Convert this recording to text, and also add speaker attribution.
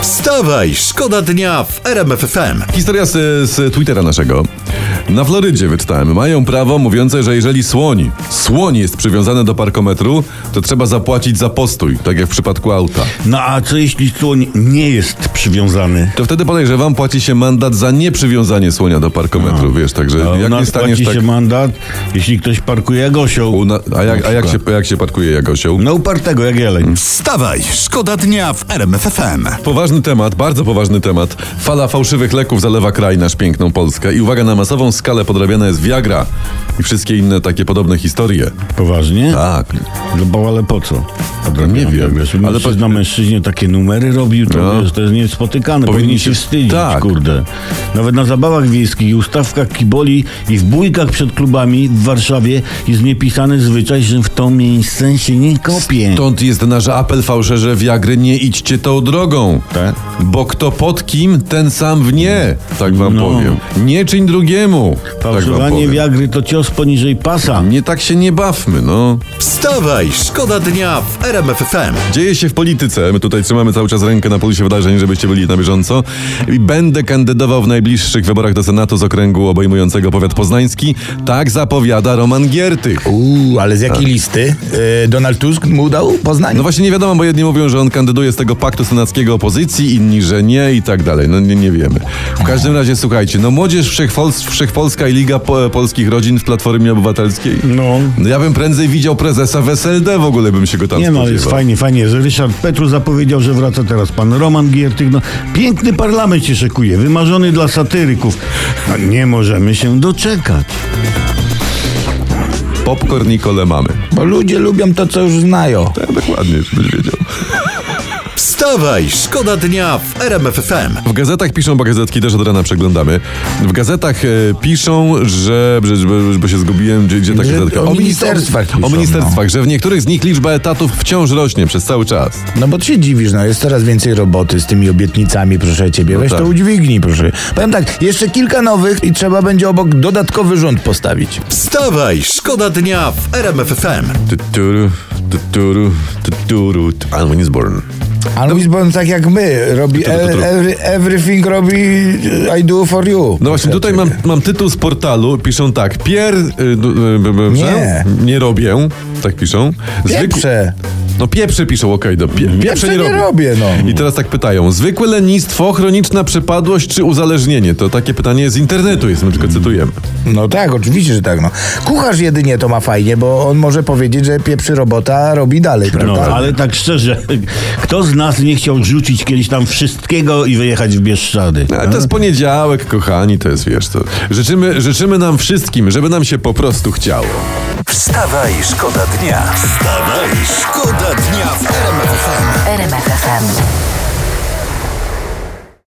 Speaker 1: Wstawaj, szkoda dnia w RMF FM.
Speaker 2: Historia z, z Twittera naszego. Na Florydzie wyczytałem, mają prawo mówiące, że jeżeli słoń, słoń jest przywiązany do parkometru, to trzeba zapłacić za postój, tak jak w przypadku auta.
Speaker 3: No a co jeśli słoń nie jest przywiązany?
Speaker 2: To wtedy podejrzewam, płaci się mandat za nieprzywiązanie słonia do parkometru, wiesz, także
Speaker 3: A u
Speaker 2: jak nie
Speaker 3: nas
Speaker 2: staniesz
Speaker 3: płaci
Speaker 2: tak...
Speaker 3: się mandat, jeśli ktoś parkuje jak osioł.
Speaker 2: U na, a jak, a jak, się, jak się parkuje Jagosioł?
Speaker 3: No upartego jak
Speaker 2: Mm.
Speaker 3: jeleń.
Speaker 1: Wstawaj, szkoda dnia w RMF FM.
Speaker 2: Poważny temat, bardzo poważny temat. Fala fałszywych leków zalewa kraj, nasz piękną Polskę. I uwaga, na masową skalę podrabiana jest Viagra i wszystkie inne takie podobne historie.
Speaker 3: Poważnie?
Speaker 2: Tak.
Speaker 3: No bo ale po co? Odrabiam,
Speaker 2: Nie wiem,
Speaker 3: Wiesz,
Speaker 2: ale
Speaker 3: ale
Speaker 2: po-
Speaker 3: na mężczyźnie takie numery robił, to,
Speaker 2: No.
Speaker 3: wiesz, to jest niespotykane.
Speaker 2: Powinni
Speaker 3: Powinni,
Speaker 2: się-
Speaker 3: się wstydzić,
Speaker 2: tak.
Speaker 3: kurde. Nawet na zabawach wiejskich i ustawkach kiboli i w bójkach przed klubami w Warszawie jest niepisany zwyczaj, że w to miejsce się nie kopie.
Speaker 2: Stąd jest nasz apel fałszerze Viagry, nie idźcie tą drogą.
Speaker 3: Tak?
Speaker 2: Bo kto pod kim, ten sam w nie. Tak wam
Speaker 3: No.
Speaker 2: powiem. Nie czyń drugiemu. Tak wam
Speaker 3: Fałszowanie
Speaker 2: powiem.
Speaker 3: wiagry to cios poniżej pasa.
Speaker 2: Nie tak się nie bawmy, no.
Speaker 1: Wstawaj, szkoda dnia w RMF FM.
Speaker 2: Dzieje się w polityce. My tutaj trzymamy cały czas rękę na pulsie wydarzeń, żebyście byli na bieżąco. I będę kandydował w najbliższych wyborach do Senatu z okręgu obejmującego powiat poznański. Tak zapowiada Roman Giertych.
Speaker 4: Uuu, ale z
Speaker 1: Tak.
Speaker 4: jakiej listy e, Donald Tusk mu dał Poznań?
Speaker 2: No właśnie nie wiadomo, bo jedni mówią, że on kandyduje z tego paktu senackiego opozycji, inni, że nie i tak dalej. No nie, nie wiemy. W każdym razie słuchajcie, no Młodzież Wszechpols- Wszechpolska i Liga Po- Polskich Rodzin w Platformie Obywatelskiej.
Speaker 3: No.
Speaker 2: No ja bym prędzej widział prezesa w SLD, w ogóle bym się go tam
Speaker 3: Nie no, ale jest
Speaker 2: spodziewał.
Speaker 3: fajnie, fajnie, że Ryszard Petru zapowiedział, że wraca teraz pan Roman Giertych. No, piękny parlament się szykuje, wymarzony dla satyryków. No, nie możemy się doczekać.
Speaker 2: Popcorn Nicole mamy.
Speaker 4: Bo ludzie lubią to, co już znają.
Speaker 2: Tak, dokładnie, żebyś wiedział.
Speaker 1: Wstawaj, szkoda dnia w RMF FM.
Speaker 2: W gazetach piszą, bo gazetki też od rana przeglądamy. W gazetach e, piszą, że, że, że bo się zgubiłem, gdzie, gdzie ta
Speaker 4: Że
Speaker 2: gazetka?
Speaker 4: o
Speaker 2: minis-
Speaker 4: ministerstwach
Speaker 2: O,
Speaker 4: piszą,
Speaker 2: ministerstwach, że w niektórych z nich liczba etatów wciąż rośnie przez cały czas.
Speaker 4: No bo ty się dziwisz, no jest coraz więcej roboty z tymi obietnicami, proszę ciebie. Weź
Speaker 2: tak.
Speaker 4: to udźwignij, proszę. Powiem tak, jeszcze kilka nowych i trzeba będzie obok dodatkowy rząd postawić.
Speaker 1: Wstawaj, szkoda dnia w RMF FM.
Speaker 2: Tuturu, tuturu, tuturu, tu- Anne Winsborn.
Speaker 4: Ale Lisbon tak jak my, robi e- every- everything robi e, I do for you.
Speaker 2: No właśnie, tutaj mam, mam tytuł z portalu, piszą tak, pier... y, d- y, b- b- że? nie robię, tak piszą.
Speaker 4: Pieprze.
Speaker 2: No pieprze piszą, okej, do pie, pieprze nie,
Speaker 4: nie
Speaker 2: robię.
Speaker 4: robię, no.
Speaker 2: I teraz tak pytają, zwykłe lenistwo, chroniczna przepadłość czy uzależnienie? To takie pytanie z internetu jest, my tylko cytujemy.
Speaker 4: No tak, oczywiście, że tak, no. Kucharz jedynie to ma fajnie, bo on może powiedzieć, że pieprzy robota robi dalej, prawda?
Speaker 3: No, ale tak szczerze, kto z nas nie chciał rzucić kiedyś tam wszystkiego i wyjechać w Bieszczady?
Speaker 2: No, Ale to jest poniedziałek, kochani, to jest, wiesz, to... Życzymy, życzymy nam wszystkim, żeby nam się po prostu chciało.
Speaker 1: Wstawaj, szkoda dnia. Wstawaj, szkoda dnia w RMF FM.
Speaker 5: RMFFM.